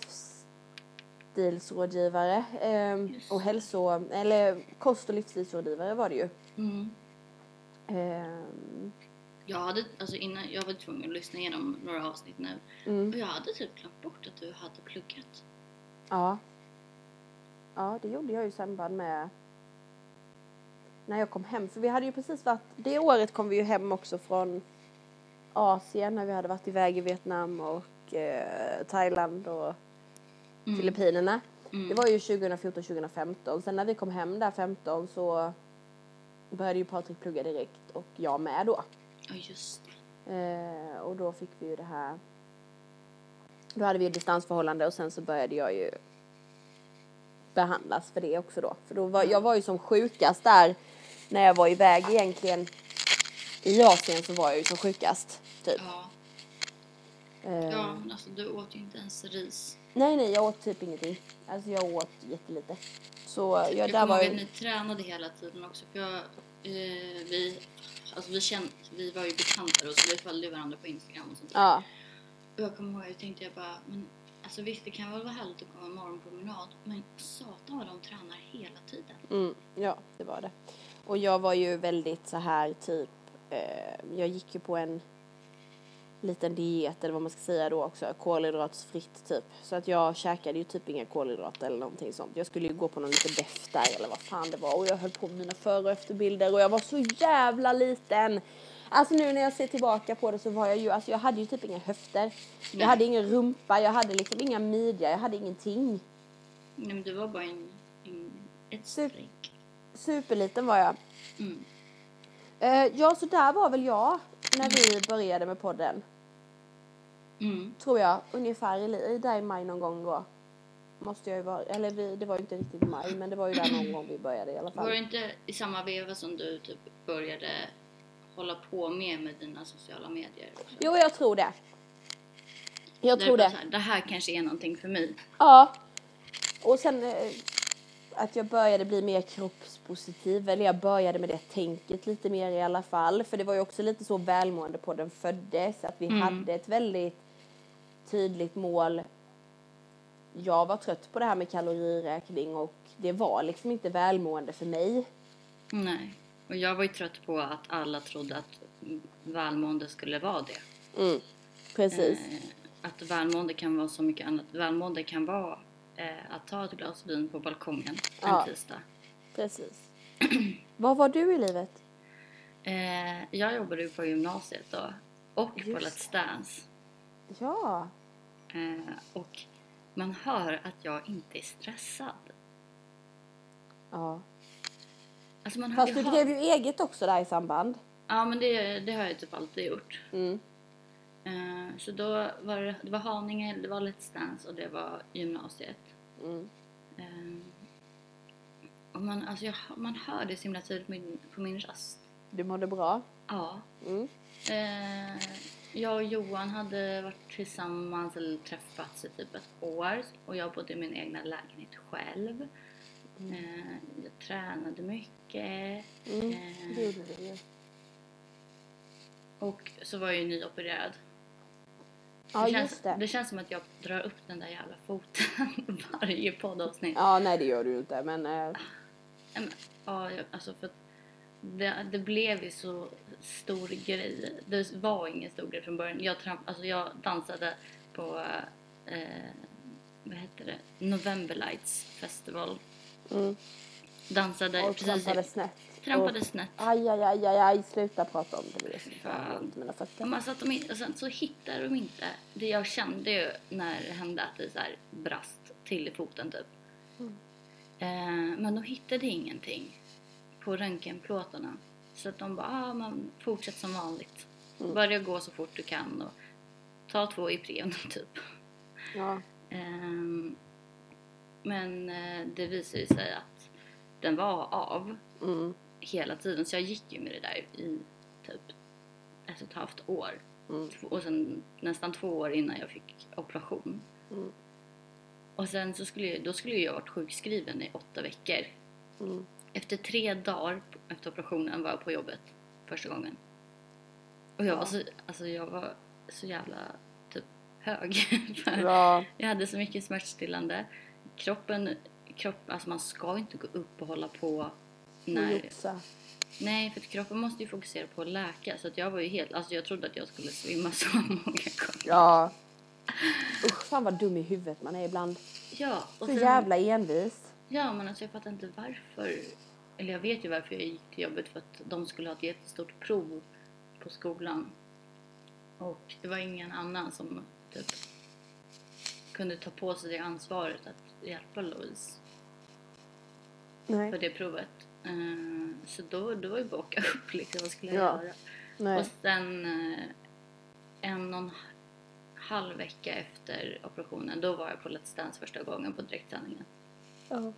[SPEAKER 2] livsstilsrådgivare ehm,
[SPEAKER 1] Just
[SPEAKER 2] och hälso, eller kost och livsstilsrådgivare var det ju.
[SPEAKER 1] Mm.
[SPEAKER 2] Ehm,
[SPEAKER 1] Jag hade, alltså innan, jag var tvungen att lyssna igenom några avsnitt nu.
[SPEAKER 2] mm,
[SPEAKER 1] Och jag hade typ glömt bort att du hade pluggat.
[SPEAKER 2] ja. ja, det gjorde jag ju i samband med när jag kom hem. För vi hade ju precis varit, det året kom vi ju hem också från Asien när vi hade varit iväg i Vietnam och eh, Thailand och
[SPEAKER 1] Mm.
[SPEAKER 2] Filippinerna.
[SPEAKER 1] Mm.
[SPEAKER 2] Det var ju 2014, 2015. Sen när vi kom hem där 15 så började ju Patrik plugga direkt och jag med då.
[SPEAKER 1] Ja, just det.
[SPEAKER 2] Eh, och då fick vi ju det här. Då hade vi ju distansförhållande och sen så började jag ju behandlas för det också då. För då var, jag var ju som sjukast där när jag var iväg egentligen. I Asien så var jag ju som sjukast. Typ.
[SPEAKER 1] Ja.
[SPEAKER 2] Eh,
[SPEAKER 1] ja, men alltså du åt ju inte ens ris.
[SPEAKER 2] Nej nej jag åt typ ingenting. Alltså jag åt jättelite. Så jag,
[SPEAKER 1] jag
[SPEAKER 2] där
[SPEAKER 1] kommer
[SPEAKER 2] var
[SPEAKER 1] ihåg att
[SPEAKER 2] ju...
[SPEAKER 1] ni tränade hela tiden också. För jag, eh, vi, alltså vi, kände, vi var ju bekanta då, så vi följde ju varandra på Instagram och sånt där.
[SPEAKER 2] Ja.
[SPEAKER 1] Och jag kommer ihåg, jag tänkte jag bara, men alltså visst det kan väl vara härligt att gå en morgonpromenad, men satan vad de tränar hela tiden.
[SPEAKER 2] Mm, ja, det var det. Och jag var ju väldigt så här typ, eh, jag gick ju på en liten diet eller vad man ska säga då också, kolhydratsfritt typ. Så att jag käkade ju typ inga kolhydrater eller någonting sånt. Jag skulle ju gå på någon liten deff där eller vad fan det var och jag höll på med mina före och efterbilder och jag var så jävla liten. Alltså nu när jag ser tillbaka på det så var jag ju, alltså jag hade ju typ inga höfter.
[SPEAKER 1] Nej.
[SPEAKER 2] Jag hade ingen rumpa, jag hade liksom inga midja, jag hade ingenting.
[SPEAKER 1] Nej men du var bara en, en, ett
[SPEAKER 2] Super.
[SPEAKER 1] streck.
[SPEAKER 2] Superliten var jag.
[SPEAKER 1] Typ. Mm.
[SPEAKER 2] Eh, ja, så där var väl jag när vi började med podden.
[SPEAKER 1] Mm.
[SPEAKER 2] Tror jag. Ungefär i, li- i där i maj någon gång då. Måste jag ju vara. Eller vi, det var ju inte riktigt maj men det var ju där någon gång vi började i alla
[SPEAKER 1] Var det
[SPEAKER 2] fall.
[SPEAKER 1] inte i samma veva som du typ började hålla på med med dina sociala medier? Också?
[SPEAKER 2] Jo, jag tror det. Jag
[SPEAKER 1] Där
[SPEAKER 2] tror
[SPEAKER 1] bara
[SPEAKER 2] det.
[SPEAKER 1] så här, det här kanske är någonting för mig.
[SPEAKER 2] Ja. Och sen eh, att jag började bli mer kroppspositiv, eller jag började med det tänket lite mer i alla fall. För det var ju också lite så välmående på den föddes, att vi hade ett väldigt tydligt mål. Jag var trött på det här med kaloriräkning och det var liksom inte välmående för mig.
[SPEAKER 1] Nej. Och jag var ju trött på att alla trodde att välmående skulle vara det.
[SPEAKER 2] Mm. Precis.
[SPEAKER 1] Eh, Att välmående kan vara så mycket annat. Välmående kan vara eh, att ta ett glas vin på balkongen en
[SPEAKER 2] Ja.
[SPEAKER 1] tisdag.
[SPEAKER 2] Precis. Vad var du i livet?
[SPEAKER 1] Eh, jag jobbade ju på gymnasiet då och på
[SPEAKER 2] Just
[SPEAKER 1] Let's Dance.
[SPEAKER 2] Ja.
[SPEAKER 1] Eh, och man hör att jag inte är stressad.
[SPEAKER 2] ja.
[SPEAKER 1] Alltså man hör,
[SPEAKER 2] Fast
[SPEAKER 1] jag
[SPEAKER 2] du
[SPEAKER 1] hör,
[SPEAKER 2] drev ju eget också där i samband.
[SPEAKER 1] ja men det, det har jag typ alltid gjort.
[SPEAKER 2] Mm.
[SPEAKER 1] Eh, så då var det, det var Haninge, det var Let's Dance och det var gymnasiet.
[SPEAKER 2] Mm.
[SPEAKER 1] Eh, och man, alltså jag, man hör det så himla tydligt på min, på min röst.
[SPEAKER 2] Du mådde bra.
[SPEAKER 1] Ja.
[SPEAKER 2] Mm.
[SPEAKER 1] Eh, jag och Johan hade varit tillsammans eller träffats i typ ett år och jag bodde i min egna lägenhet själv. Eh, jag tränade mycket
[SPEAKER 2] Mm.
[SPEAKER 1] eh,
[SPEAKER 2] Det gjorde du ju.
[SPEAKER 1] och så var jag ju nyopererad.
[SPEAKER 2] Ja,
[SPEAKER 1] känns,
[SPEAKER 2] just det.
[SPEAKER 1] det känns som att jag drar upp den där jävla foten varje poddavsnitt.
[SPEAKER 2] Ja, nej det gör du ju inte men...
[SPEAKER 1] Mm.
[SPEAKER 2] Eh,
[SPEAKER 1] Nej, men, Ja, jag, alltså för att det, det blev ju så stor grej. Det var ingen stor grej från början. Jag, tramp, alltså jag dansade på eh, vad heter det? November Lights festival.
[SPEAKER 2] mm.
[SPEAKER 1] Dansade
[SPEAKER 2] Och
[SPEAKER 1] precis.
[SPEAKER 2] trampade snett.
[SPEAKER 1] trampade
[SPEAKER 2] Och-
[SPEAKER 1] snett.
[SPEAKER 2] Aj, aj, aj, aj, aj, sluta prata om det. Det är så jävla
[SPEAKER 1] Fan.
[SPEAKER 2] ont i mina fötter.
[SPEAKER 1] Men alltså att de, in- och sen så hittade de inte. Det jag kände ju när det hände att det så här brast till i foten typ. Eh, men de hittade ingenting på röntgenplåtarna. Så att de bara, ah, man fortsätt som vanligt. Börja gå så fort du kan och ta två Ipren typ.
[SPEAKER 2] Ja.
[SPEAKER 1] Ehm, men eh, det visade ju sig att den var av
[SPEAKER 2] Mm.
[SPEAKER 1] hela tiden. Så jag gick ju med det där i typ ett och ett halvt år.
[SPEAKER 2] Mm.
[SPEAKER 1] Tv- Och sen nästan två år innan jag fick operation.
[SPEAKER 2] Mm.
[SPEAKER 1] Och sen så skulle jag, då skulle jag ha varit sjukskriven i åtta veckor.
[SPEAKER 2] Mm.
[SPEAKER 1] Efter tre dagar p- efter operationen var jag på jobbet första gången. Och jag var så, alltså jag var så jävla typ hög. för
[SPEAKER 2] Bra.
[SPEAKER 1] jag hade så mycket smärtstillande. Kroppen, kropp, alltså man ska inte gå upp och hålla på när,
[SPEAKER 2] Joxa.
[SPEAKER 1] Nej, för att kroppen måste ju fokusera på att läka. Så att jag var ju helt... Alltså jag trodde att jag skulle svimma så många gånger.
[SPEAKER 2] Ja. Usch, fan vad dum i huvudet man är ibland.
[SPEAKER 1] Ja, och
[SPEAKER 2] Så
[SPEAKER 1] sen,
[SPEAKER 2] jävla envis.
[SPEAKER 1] Ja, men alltså jag fattar inte varför. Eller jag vet ju varför jag gick till jobbet. För att de skulle ha ett jättestort prov på skolan. Och det var ingen annan som typ kunde ta på sig det ansvaret att hjälpa Louise för
[SPEAKER 2] Nej.
[SPEAKER 1] det provet. Eh, Så då, då var ju bara att åka upp liksom. Vad skulle jag
[SPEAKER 2] Ja.
[SPEAKER 1] göra? Och
[SPEAKER 2] Nej.
[SPEAKER 1] sen eh, en och en halv vecka efter operationen, då var jag på Let's Dance första gången på direktsändningen.
[SPEAKER 2] Ja.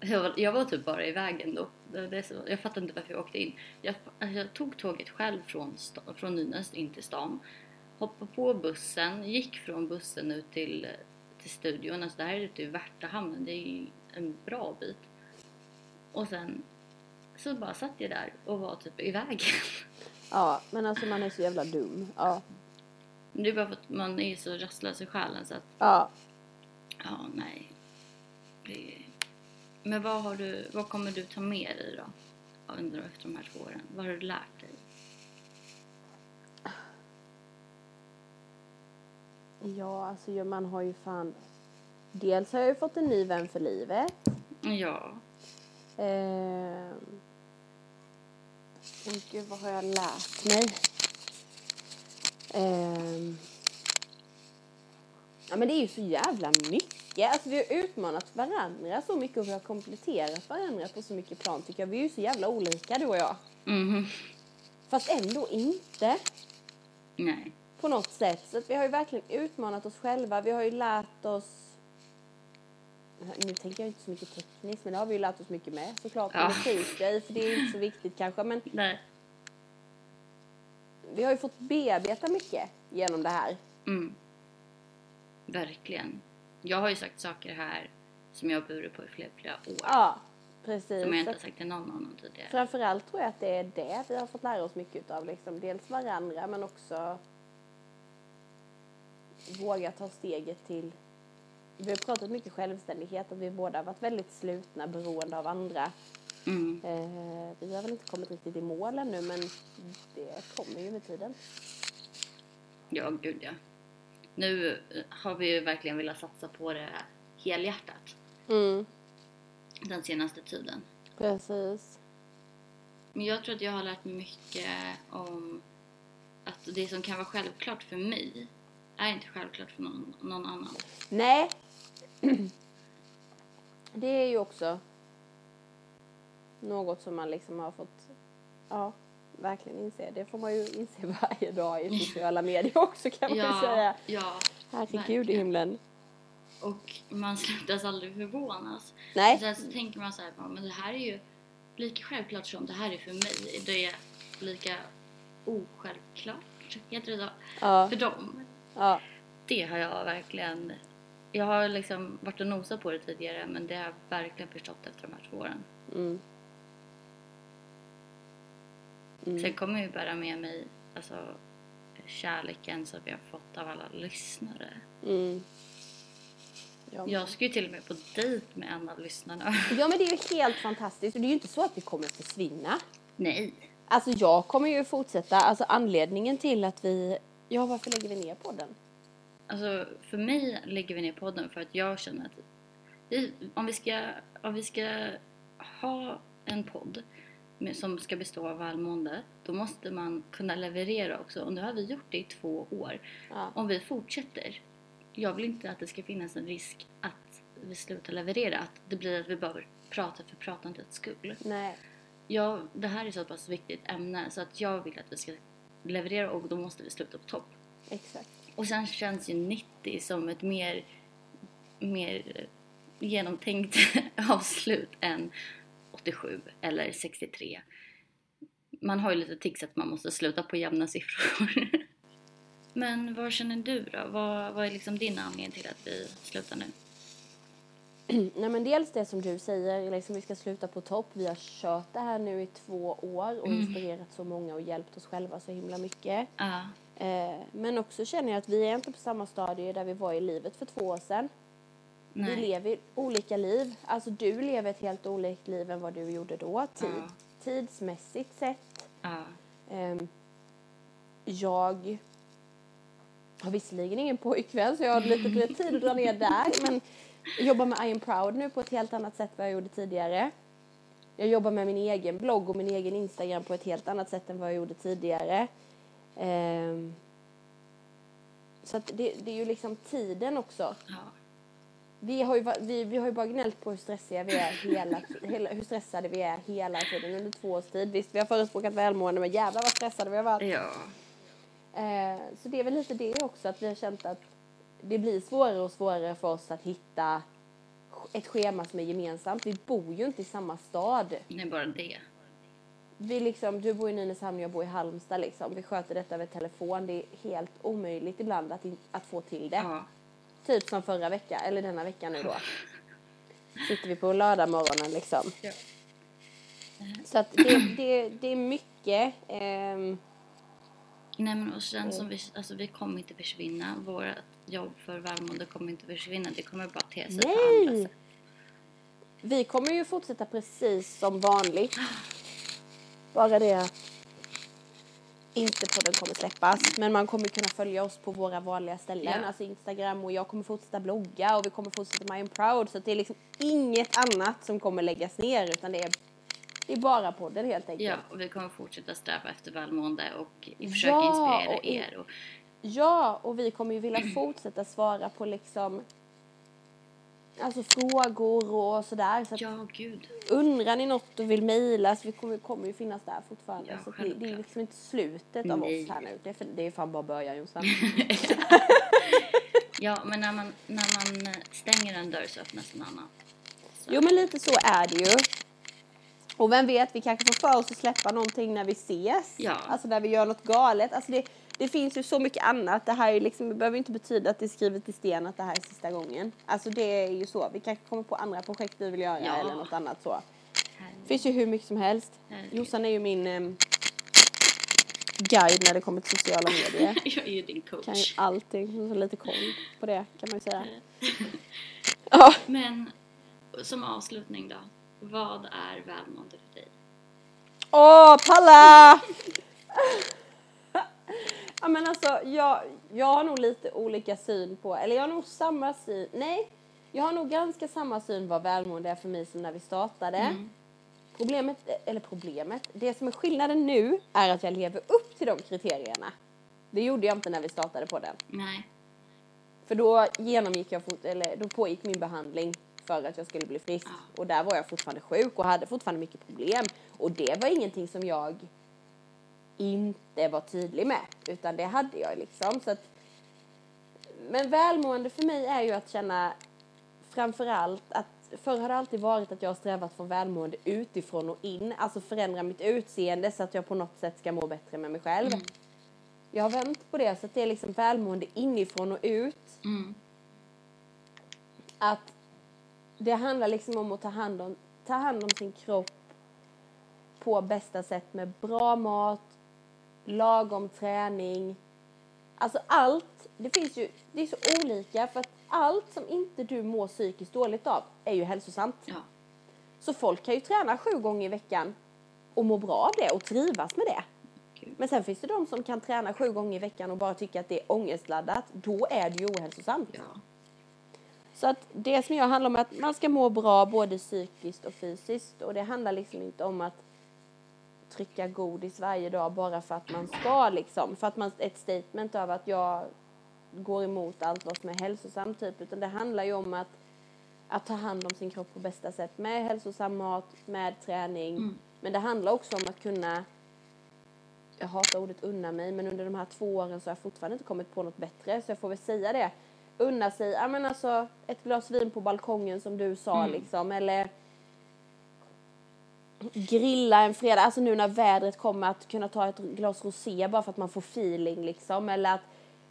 [SPEAKER 1] Jag var, jag var typ bara i vägen då. Det, det, är så- jag fattade inte varför jag åkte in. Jag, alltså jag tog tåget själv från, sta, från Nynäs in till stan. Hoppade på bussen, gick från bussen ut till, till studion. Alltså det här är ute i Värtahamnen, det är ju en bra bit. Och sen så bara satt jag där och var typ i vägen.
[SPEAKER 2] ja, men alltså man är så jävla dum. Ja.
[SPEAKER 1] Men Det är bara för att man är så rastlös i själen så att,
[SPEAKER 2] Ja.
[SPEAKER 1] ja nej. Det... Men vad har du, vad kommer du ta med dig då? Ja, Undrar efter de här två åren. Vad har du lärt dig?
[SPEAKER 2] Ja, alltså ja, man har ju fan... Dels har jag ju fått en ny vän för livet.
[SPEAKER 1] Ja.
[SPEAKER 2] Eh, men gud, vad har jag lärt mig? Ehm, Ja men det är ju så jävla mycket. Alltså vi har utmanat varandra så mycket och vi har kompletterat varandra på så mycket plan tycker jag. Vi är ju så jävla olika du och jag.
[SPEAKER 1] Mhm.
[SPEAKER 2] Fast ändå inte
[SPEAKER 1] Nej.
[SPEAKER 2] på något sätt. Så att vi har ju verkligen utmanat oss själva. Vi har ju lärt oss nu tänker jag inte så mycket tekniskt, men det har vi ju lärt oss mycket med såklart.
[SPEAKER 1] Ja.
[SPEAKER 2] Ja. Musik, ja, för det är ju inte så viktigt kanske. Men
[SPEAKER 1] Nej.
[SPEAKER 2] vi har ju fått bearbeta mycket genom det här.
[SPEAKER 1] Mm. Verkligen. Jag har ju sagt saker här som jag har burit på i flera, flera år.
[SPEAKER 2] Ja, precis.
[SPEAKER 1] Som jag
[SPEAKER 2] Så
[SPEAKER 1] inte har
[SPEAKER 2] att-
[SPEAKER 1] sagt till någon annan tidigare.
[SPEAKER 2] Framförallt tror jag att det är det vi har fått lära oss mycket utav. Liksom. Dels varandra men också våga ta steget till... Vi har pratat mycket självständighet och vi båda har varit väldigt slutna beroende av andra.
[SPEAKER 1] Mm.
[SPEAKER 2] Eh, vi har väl inte kommit riktigt i mål ännu men det kommer ju med tiden.
[SPEAKER 1] Ja, gud ja. Nu eh, har vi ju verkligen velat satsa på det här helhjärtat
[SPEAKER 2] Mm.
[SPEAKER 1] den senaste tiden.
[SPEAKER 2] Precis.
[SPEAKER 1] Men jag tror att jag har lärt mig mycket om att det som kan vara självklart för mig är inte självklart för någon, någon annan.
[SPEAKER 2] Nej. Det är ju också något som man liksom har fått, ja, verkligen inse. Det får man ju inse varje dag i sociala medier också kan man ju
[SPEAKER 1] Ja,
[SPEAKER 2] säga.
[SPEAKER 1] ja.
[SPEAKER 2] Herregud i
[SPEAKER 1] verkligen.
[SPEAKER 2] himlen.
[SPEAKER 1] Och man slutas aldrig förvånas.
[SPEAKER 2] Nej.
[SPEAKER 1] Sen så tänker man så här, "Ja, men det här är ju lika självklart som det här är för mig. Det är lika osjälvklart, heter det så?
[SPEAKER 2] Ja,
[SPEAKER 1] För dem.
[SPEAKER 2] ja,
[SPEAKER 1] Det har jag verkligen... Jag har liksom varit och nosat på det tidigare men det har jag verkligen förstått efter de här två åren.
[SPEAKER 2] mm,
[SPEAKER 1] Sen kommer jag ju bära med mig alltså, kärleken som vi har fått av alla lyssnare.
[SPEAKER 2] mm. Ja.
[SPEAKER 1] Jag ska ju till och med på dejt med en av lyssnarna.
[SPEAKER 2] ja, men det är ju helt fantastiskt. Och det är ju inte så att vi kommer försvinna.
[SPEAKER 1] Nej!
[SPEAKER 2] Alltså jag kommer ju fortsätta. Alltså anledningen till att vi, ja varför lägger vi ner podden?
[SPEAKER 1] Alltså för mig lägger vi ner podden för att jag känner att vi, om, vi ska, om vi ska ha en podd med, som ska bestå av välmående då måste man kunna leverera också och nu har vi gjort det i två år.
[SPEAKER 2] Ja.
[SPEAKER 1] Om vi fortsätter, jag vill inte att det ska finnas en risk att vi slutar leverera, att det blir att vi bara pratar för pratandets skull.
[SPEAKER 2] Nej.
[SPEAKER 1] Jag, det här är så pass viktigt ämne så att jag vill att vi ska leverera och då måste vi sluta på topp.
[SPEAKER 2] Exakt.
[SPEAKER 1] Och sen känns ju 90 som ett mer, mer genomtänkt avslut än 87 eller 63. Man har ju lite tics att man måste sluta på jämna siffror. Men vad känner du då? Vad, vad är liksom din anledning till att vi slutar nu?
[SPEAKER 2] Nej men dels det som du säger, liksom vi ska sluta på topp. Vi har kört det här nu i två år och inspirerat så många och hjälpt oss själva så himla mycket.
[SPEAKER 1] Ja,
[SPEAKER 2] Eh, men också känner jag att vi är inte på samma stadie där vi var i livet för två år sedan. Vi
[SPEAKER 1] nej.
[SPEAKER 2] lever olika liv. Alltså du lever ett helt olikt liv än vad du gjorde då. Tid,
[SPEAKER 1] Ja.
[SPEAKER 2] Tidsmässigt sett.
[SPEAKER 1] Ja,
[SPEAKER 2] Ehm, jag har visserligen ingen pojkvän så jag har lite mer tid att dra ner där. Men jag jobbar med I am proud nu på ett helt annat sätt än vad jag gjorde tidigare. Jag jobbar med min egen blogg och min egen Instagram på ett helt annat sätt än vad jag gjorde tidigare. Ehm, så att det, det är ju liksom tiden också.
[SPEAKER 1] ja.
[SPEAKER 2] Vi har ju, va- vi, vi har ju bara gnällt på hur stressiga vi är hela, hela, hur stressade vi är hela tiden under två års tid. Visst, vi har förespråkat välmående men jävlar vad stressade vi har varit.
[SPEAKER 1] ja.
[SPEAKER 2] Eh, så det är väl lite det också att vi har känt att det blir svårare och svårare för oss att hitta sch- ett schema som är gemensamt. Vi bor ju inte i samma stad.
[SPEAKER 1] Det är bara det.
[SPEAKER 2] Vi liksom, du bor i Nynäshamn och jag bor i Halmstad liksom. Vi sköter detta över telefon. Det är helt omöjligt ibland att, in, att få till det.
[SPEAKER 1] Ja,
[SPEAKER 2] Typ som förra veckan, eller denna veckan nu då. Sitter vi på lördag morgonen liksom.
[SPEAKER 1] Ja.
[SPEAKER 2] Så att det, det, det är mycket. ehm,
[SPEAKER 1] Nej men och
[SPEAKER 2] Mm.
[SPEAKER 1] sen som vi, alltså vi kommer inte försvinna. Vårt jobb för välmående kommer inte försvinna. Det kommer bara te sig på andra
[SPEAKER 2] nej!
[SPEAKER 1] sätt.
[SPEAKER 2] Vi kommer ju fortsätta precis som vanligt. Bara det att inte podden kommer släppas. Men man kommer kunna följa oss på våra vanliga ställen.
[SPEAKER 1] Ja.
[SPEAKER 2] Alltså Instagram och jag kommer fortsätta blogga och vi kommer fortsätta med I am proud. Så att det är liksom inget annat som kommer läggas ner utan det är, det är bara podden helt enkelt.
[SPEAKER 1] Ja, och vi kommer fortsätta sträva efter välmående och försöka
[SPEAKER 2] Ja,
[SPEAKER 1] inspirera
[SPEAKER 2] och i-
[SPEAKER 1] er och
[SPEAKER 2] Ja, och vi kommer ju vilja fortsätta svara på liksom Alltså frågor och sådär. Så att
[SPEAKER 1] Ja, gud.
[SPEAKER 2] undrar ni något och vill mejla så vi kommer, kommer ju finnas där fortfarande.
[SPEAKER 1] Ja,
[SPEAKER 2] så att det, det är
[SPEAKER 1] självklart.
[SPEAKER 2] liksom inte slutet av
[SPEAKER 1] Nej. Mm.
[SPEAKER 2] oss här nu. Det är, för, det är fan bara början Jossan.
[SPEAKER 1] Ja, men när man, när man eh, stänger en dörr så öppnas en annan.
[SPEAKER 2] Jo men lite så är det ju. Och vem vet, vi kanske får för oss att släppa någonting när vi ses.
[SPEAKER 1] Ja.
[SPEAKER 2] Alltså när vi gör något galet. Alltså det, det finns ju så mycket annat. Det här är ju liksom, det behöver ju inte betyda att det är skrivet i sten att det här är sista gången. Alltså det är ju så. Vi kanske kommer på andra projekt vi vill göra
[SPEAKER 1] Ja.
[SPEAKER 2] eller något annat så.
[SPEAKER 1] Herregud.
[SPEAKER 2] Det finns ju hur mycket som helst.
[SPEAKER 1] Herregud.
[SPEAKER 2] Jossan är ju min ehm, guide när det kommer till sociala medier.
[SPEAKER 1] Jag är ju din
[SPEAKER 2] Kan ju
[SPEAKER 1] coach.
[SPEAKER 2] allting. Hon har lite koll på det kan man ju säga. Ja.
[SPEAKER 1] Men som avslutning då. Vad är välmående för dig?
[SPEAKER 2] Åh, palla! ja, men alltså, jag, jag har nog lite olika syn på, eller jag har nog samma syn, nej, jag har nog ganska samma syn vad välmående är för mig som när vi startade. Problemet, eller problemet, det som är skillnaden nu är att jag lever upp till de kriterierna. Det gjorde jag inte när vi startade på den.
[SPEAKER 1] Nej.
[SPEAKER 2] För då genomgick jag, fort, eller då pågick min behandling för att jag skulle bli frisk. Och där var jag fortfarande sjuk och hade fortfarande mycket problem. Och det var ingenting som jag inte var tydlig med. Utan det hade jag liksom. Så att, men välmående för mig är ju att känna framförallt att Förr har det alltid varit att jag har strävat från välmående utifrån och in. Alltså förändra mitt utseende så att jag på något sätt ska må bättre med mig själv. Jag har vänt på det så att det är liksom välmående inifrån och ut
[SPEAKER 1] Mm.
[SPEAKER 2] att det handlar liksom om att ta hand om, ta hand om sin kropp på bästa sätt med bra mat, lagom träning. Alltså allt, det finns ju, det är så olika för att allt som inte du mår psykiskt dåligt av är ju hälsosamt.
[SPEAKER 1] Ja.
[SPEAKER 2] Så folk kan ju träna sju gånger i veckan och må bra av det och trivas med det.
[SPEAKER 1] Kul.
[SPEAKER 2] Men sen finns det de som kan träna sju gånger i veckan och bara tycker att det är ångestladdat. Då är det ju ohälsosamt.
[SPEAKER 1] Ja.
[SPEAKER 2] Så att det som jag handlar om är att man ska må bra både psykiskt och fysiskt och det handlar liksom inte om att trycka godis varje dag bara för att man ska liksom, för att man, ett statement av att jag går emot allt vad som är hälsosamt typ, utan det handlar ju om att, att ta hand om sin kropp på bästa sätt med hälsosam mat, med träning, men det handlar också om att kunna jag hatar ordet unna mig, men under de här två åren så har jag fortfarande inte kommit på något bättre, så jag får väl säga det. Unna sig, ja men alltså ett glas vin på balkongen som du sa liksom, eller grilla en fredag, alltså nu när vädret kommer att kunna ta ett glas rosé bara för att man får feeling liksom, eller att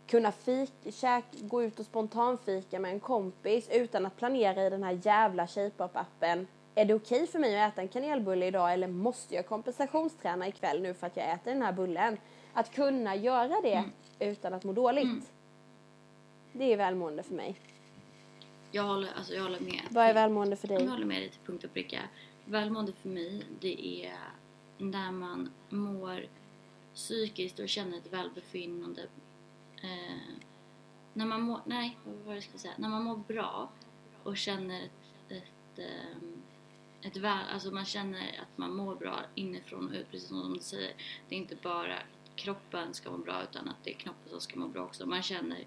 [SPEAKER 2] kunna fik, käk, gå ut och spontanfika med en kompis utan att planera i den här jävla Shapeupp-appen. Är det okej för mig att äta en kanelbulle idag eller måste jag kompensationsträna ikväll nu för att jag äter den här bullen? Att kunna göra det utan att må dåligt. Det är välmående för mig.
[SPEAKER 1] Jag håller, alltså jag håller med.
[SPEAKER 2] Vad är välmående för dig?
[SPEAKER 1] Jag håller med dig till punkt och pricka. Välmående för mig, det är när man mår psykiskt och känner ett välbefinnande. Eh, när man mår, nej, vad var det jag skulle säga? När man mår bra och känner ett, ett, ehm, ett väl, alltså man känner att man mår bra inifrån och ut, precis som du säger. Det är inte bara kroppen ska må bra utan att det är knoppen som ska må bra också. Man känner,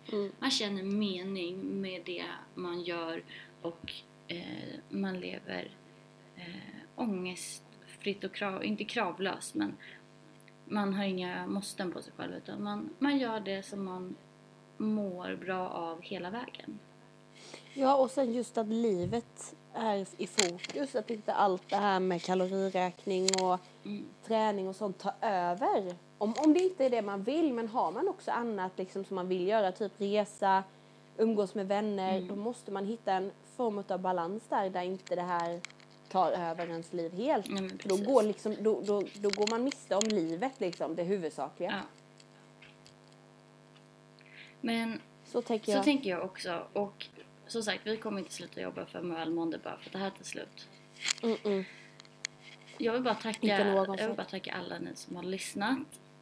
[SPEAKER 1] man känner mening med det man gör och eh, man lever eh, ångestfritt och krav, inte kravlöst men man har inga måsten på sig själv utan man, man gör det som man mår bra av hela vägen.
[SPEAKER 2] Ja, och sen just att livet är i fokus. Att inte allt det här med kaloriräkning och
[SPEAKER 1] Mm.
[SPEAKER 2] träning och sånt tar över. Om, om det inte är det man vill, men har man också annat liksom, som man vill göra, typ resa, umgås med vänner,
[SPEAKER 1] Mm.
[SPEAKER 2] då måste man hitta en form av balans där, där inte det här tar över ens liv helt.
[SPEAKER 1] Nej, men
[SPEAKER 2] För då,
[SPEAKER 1] precis.
[SPEAKER 2] går liksom, då, då, då går man miste om livet, liksom, det huvudsakliga.
[SPEAKER 1] Ja. Men
[SPEAKER 2] Så tänker
[SPEAKER 1] så
[SPEAKER 2] jag.
[SPEAKER 1] tänker jag också och som sagt vi kommer inte sluta jobba för välmående bara för att det här tar slut.
[SPEAKER 2] mm, mm.
[SPEAKER 1] Jag vill bara tacka,
[SPEAKER 2] Inte någonsin.
[SPEAKER 1] jag vill bara tacka alla ni som har lyssnat.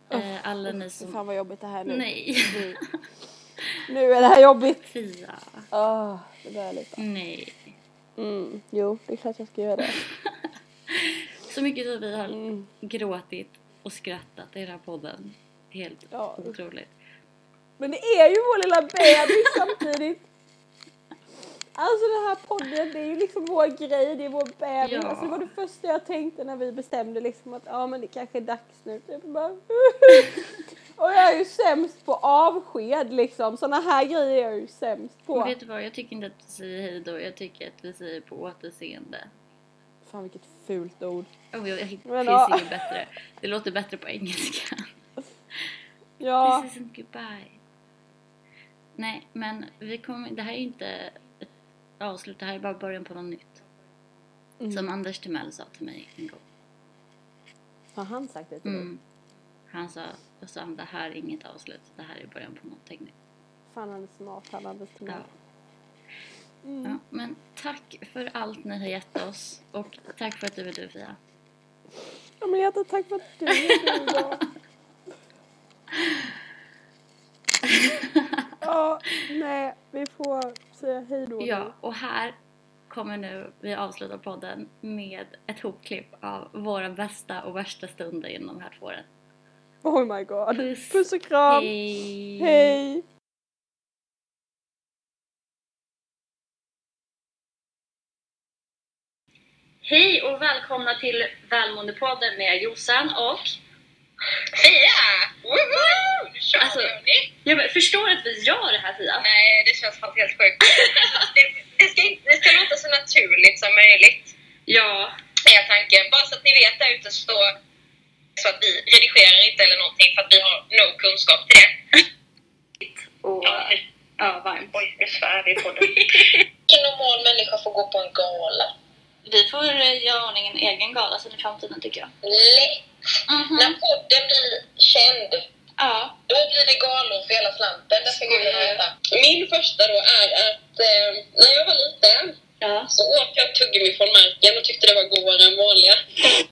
[SPEAKER 1] eh, alla ni som...
[SPEAKER 2] Fan vad jobbigt det här nu.
[SPEAKER 1] Nej!
[SPEAKER 2] Mm. Nu är det här jobbigt.
[SPEAKER 1] Fia!
[SPEAKER 2] Åh,
[SPEAKER 3] Ah,
[SPEAKER 2] det börjar lite.
[SPEAKER 1] Nej!
[SPEAKER 2] Mm, jo, det är klart jag ska göra det.
[SPEAKER 1] Så mycket som vi har
[SPEAKER 3] Mm.
[SPEAKER 1] gråtit och skrattat i den här podden. Helt
[SPEAKER 2] Ja.
[SPEAKER 1] otroligt.
[SPEAKER 3] Men det är ju vår lilla bebis samtidigt. Alltså den här podden, det är ju liksom vår grej, det är vår bebis.
[SPEAKER 1] Ja.
[SPEAKER 3] Alltså det var det första jag tänkte när vi bestämde liksom att ja men det kanske är dags nu. Typ bara, och jag är ju sämst på avsked liksom. Sådana här grejer är jag ju sämst på.
[SPEAKER 1] Men vet du vad, jag tycker inte att vi säger hej då. Jag tycker att vi säger på återseende.
[SPEAKER 3] Fan vilket fult ord.
[SPEAKER 1] Oh, jag, det
[SPEAKER 3] Men
[SPEAKER 1] finns
[SPEAKER 3] ja.
[SPEAKER 1] inget bättre. Det låter bättre på engelska.
[SPEAKER 3] Ja,
[SPEAKER 1] This isn't goodbye. Nej, men vi kommer, det här är ju inte ett avslut. Det här är bara början på något nytt. Som Anders Timell sa till mig en gång.
[SPEAKER 3] har han sagt det till dig?
[SPEAKER 1] Mm. Han sa, då sa han, det här är inget avslut. Det här är början på någonting nytt.
[SPEAKER 3] Fan han är smart han Anders till
[SPEAKER 1] Ja. Mm. Ja, men tack för allt ni har gett oss och tack för att du är du Fia.
[SPEAKER 3] Ja men jättetack för att du är du idag. Ja, nej, vi får säga hej då. nu.
[SPEAKER 1] Ja, och här kommer nu vi avsluta podden med ett hopklipp av våra bästa och värsta stunder inom de här två åren.
[SPEAKER 3] Oh my god.
[SPEAKER 1] Puss.
[SPEAKER 3] Puss och kram.
[SPEAKER 1] Hej!
[SPEAKER 3] hej.
[SPEAKER 1] Hej och välkomna till Välmåendepodden med Jossan och...
[SPEAKER 4] Fia! Woho! Nu kör
[SPEAKER 1] Alltså-
[SPEAKER 4] vi hörni!
[SPEAKER 1] Ja, men förstår att vi gör det här Fia?
[SPEAKER 4] Nej, det känns fan helt sjukt. det, det, ska, inte- det ska låta så naturligt som möjligt,
[SPEAKER 1] Ja.
[SPEAKER 4] är tanken. Bara så att ni vet där ute så, så att vi redigerar inte eller någonting för att vi har no kunskap till det.
[SPEAKER 1] Och ja, varmt.
[SPEAKER 4] Oj, nu svär vi på det. Vilken normal människa får gå på en gala?
[SPEAKER 1] Vi får eh, göra ordning en egen gala sen i framtiden tycker jag.
[SPEAKER 4] Lätt!
[SPEAKER 1] Mhm.
[SPEAKER 4] När podden blir känd,
[SPEAKER 1] Ja.
[SPEAKER 4] då blir det galor för hela slanten. Det ska gudarna veta. Min första då är att eh, när jag var liten
[SPEAKER 1] ja.
[SPEAKER 4] Så åt jag tuggummi från marken och tyckte det var godare än vanliga.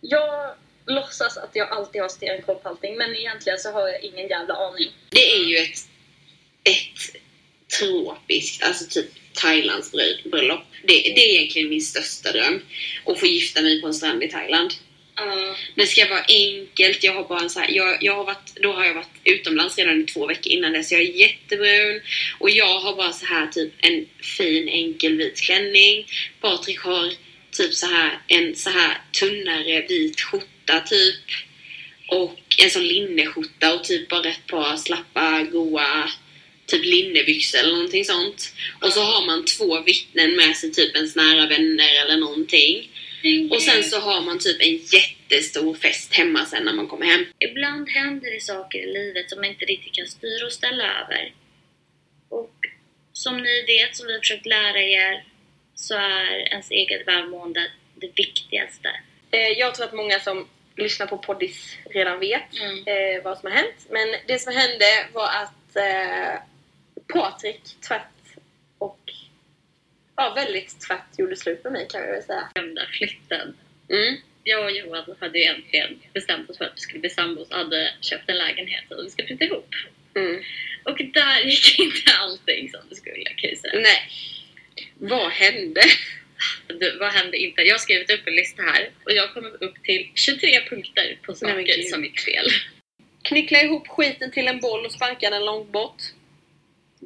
[SPEAKER 1] Jag låtsas att jag alltid har stenkoll på allting men egentligen så har jag ingen jävla aning.
[SPEAKER 5] Det är ju ett, ett tropiskt, alltså typ Thailands brö- bröllop. Det, det är egentligen min största dröm. Att få gifta mig på en strand i Thailand. Det ska vara enkelt. Jag har bara en så här, jag, jag har varit, då har jag varit utomlands redan i två veckor innan dess. Jag är jättebrun. Och jag har bara så här typ en fin enkel vit klänning. Patrik har typ så här en så här tunnare vit skjorta typ. Och en sån linneskjorta och typ bara ett par slappa goa typ linnebyxor eller någonting sånt. Och så har man två vittnen med sig, typ ens nära vänner eller någonting.
[SPEAKER 1] Mm.
[SPEAKER 5] Och sen så har man typ en jättestor fest hemma sen när man kommer hem.
[SPEAKER 1] Ibland händer det saker i livet som man inte riktigt kan styra och ställa över. Och som ni vet, som vi har försökt lära er, så är ens eget välmående det viktigaste.
[SPEAKER 6] Eh, Jag tror att många som lyssnar på poddis redan vet
[SPEAKER 1] Mm.
[SPEAKER 6] eh, vad som har hänt. Men det som hände var att eh, Patrik tvärt och ja, väldigt tvärt gjorde slut med mig kan vi väl säga.
[SPEAKER 1] Gömda flytten.
[SPEAKER 6] Mm.
[SPEAKER 1] Jag och Johan hade ju äntligen bestämt oss för att vi skulle bli sambos och hade köpt en lägenhet och vi skulle flytta ihop.
[SPEAKER 6] Mm.
[SPEAKER 1] Och där gick inte allting som det skulle kan jag säga.
[SPEAKER 6] Nej. Vad hände?
[SPEAKER 1] Du, vad hände inte? Jag har skrivit upp en lista här och jag kom upp till 23 punkter på
[SPEAKER 6] Nej, men
[SPEAKER 1] saker
[SPEAKER 6] gud.
[SPEAKER 1] som gick fel.
[SPEAKER 6] Knickla ihop skiten till en boll och sparka den långt bort.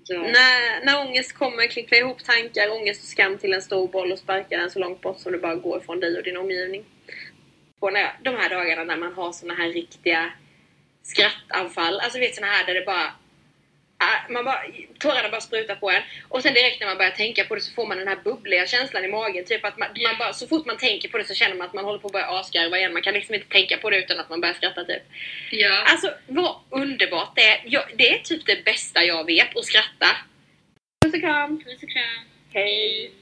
[SPEAKER 6] När, när ångest kommer, knickla ihop tankar, ångest och skam till en stor boll och sparka den så långt bort som det bara går från dig och din omgivning. På när, de här dagarna när man har såna här riktiga skrattanfall, alltså vet såna här där det bara... ah, Man bara tårarna bara sprutar på en. Och sen direkt när man börjar tänka på det så får man den här bubbliga känslan i magen. Typ att man, man bara, så fort man tänker på det så känner man att man håller på att börja asgarva igen. Man kan liksom inte tänka på det utan att man börjar skratta typ.
[SPEAKER 1] Ja.
[SPEAKER 6] Alltså vad underbart det är. Jag, det är typ det bästa jag vet, att skratta. Puss och kram!
[SPEAKER 1] Puss och kram.
[SPEAKER 6] Hej!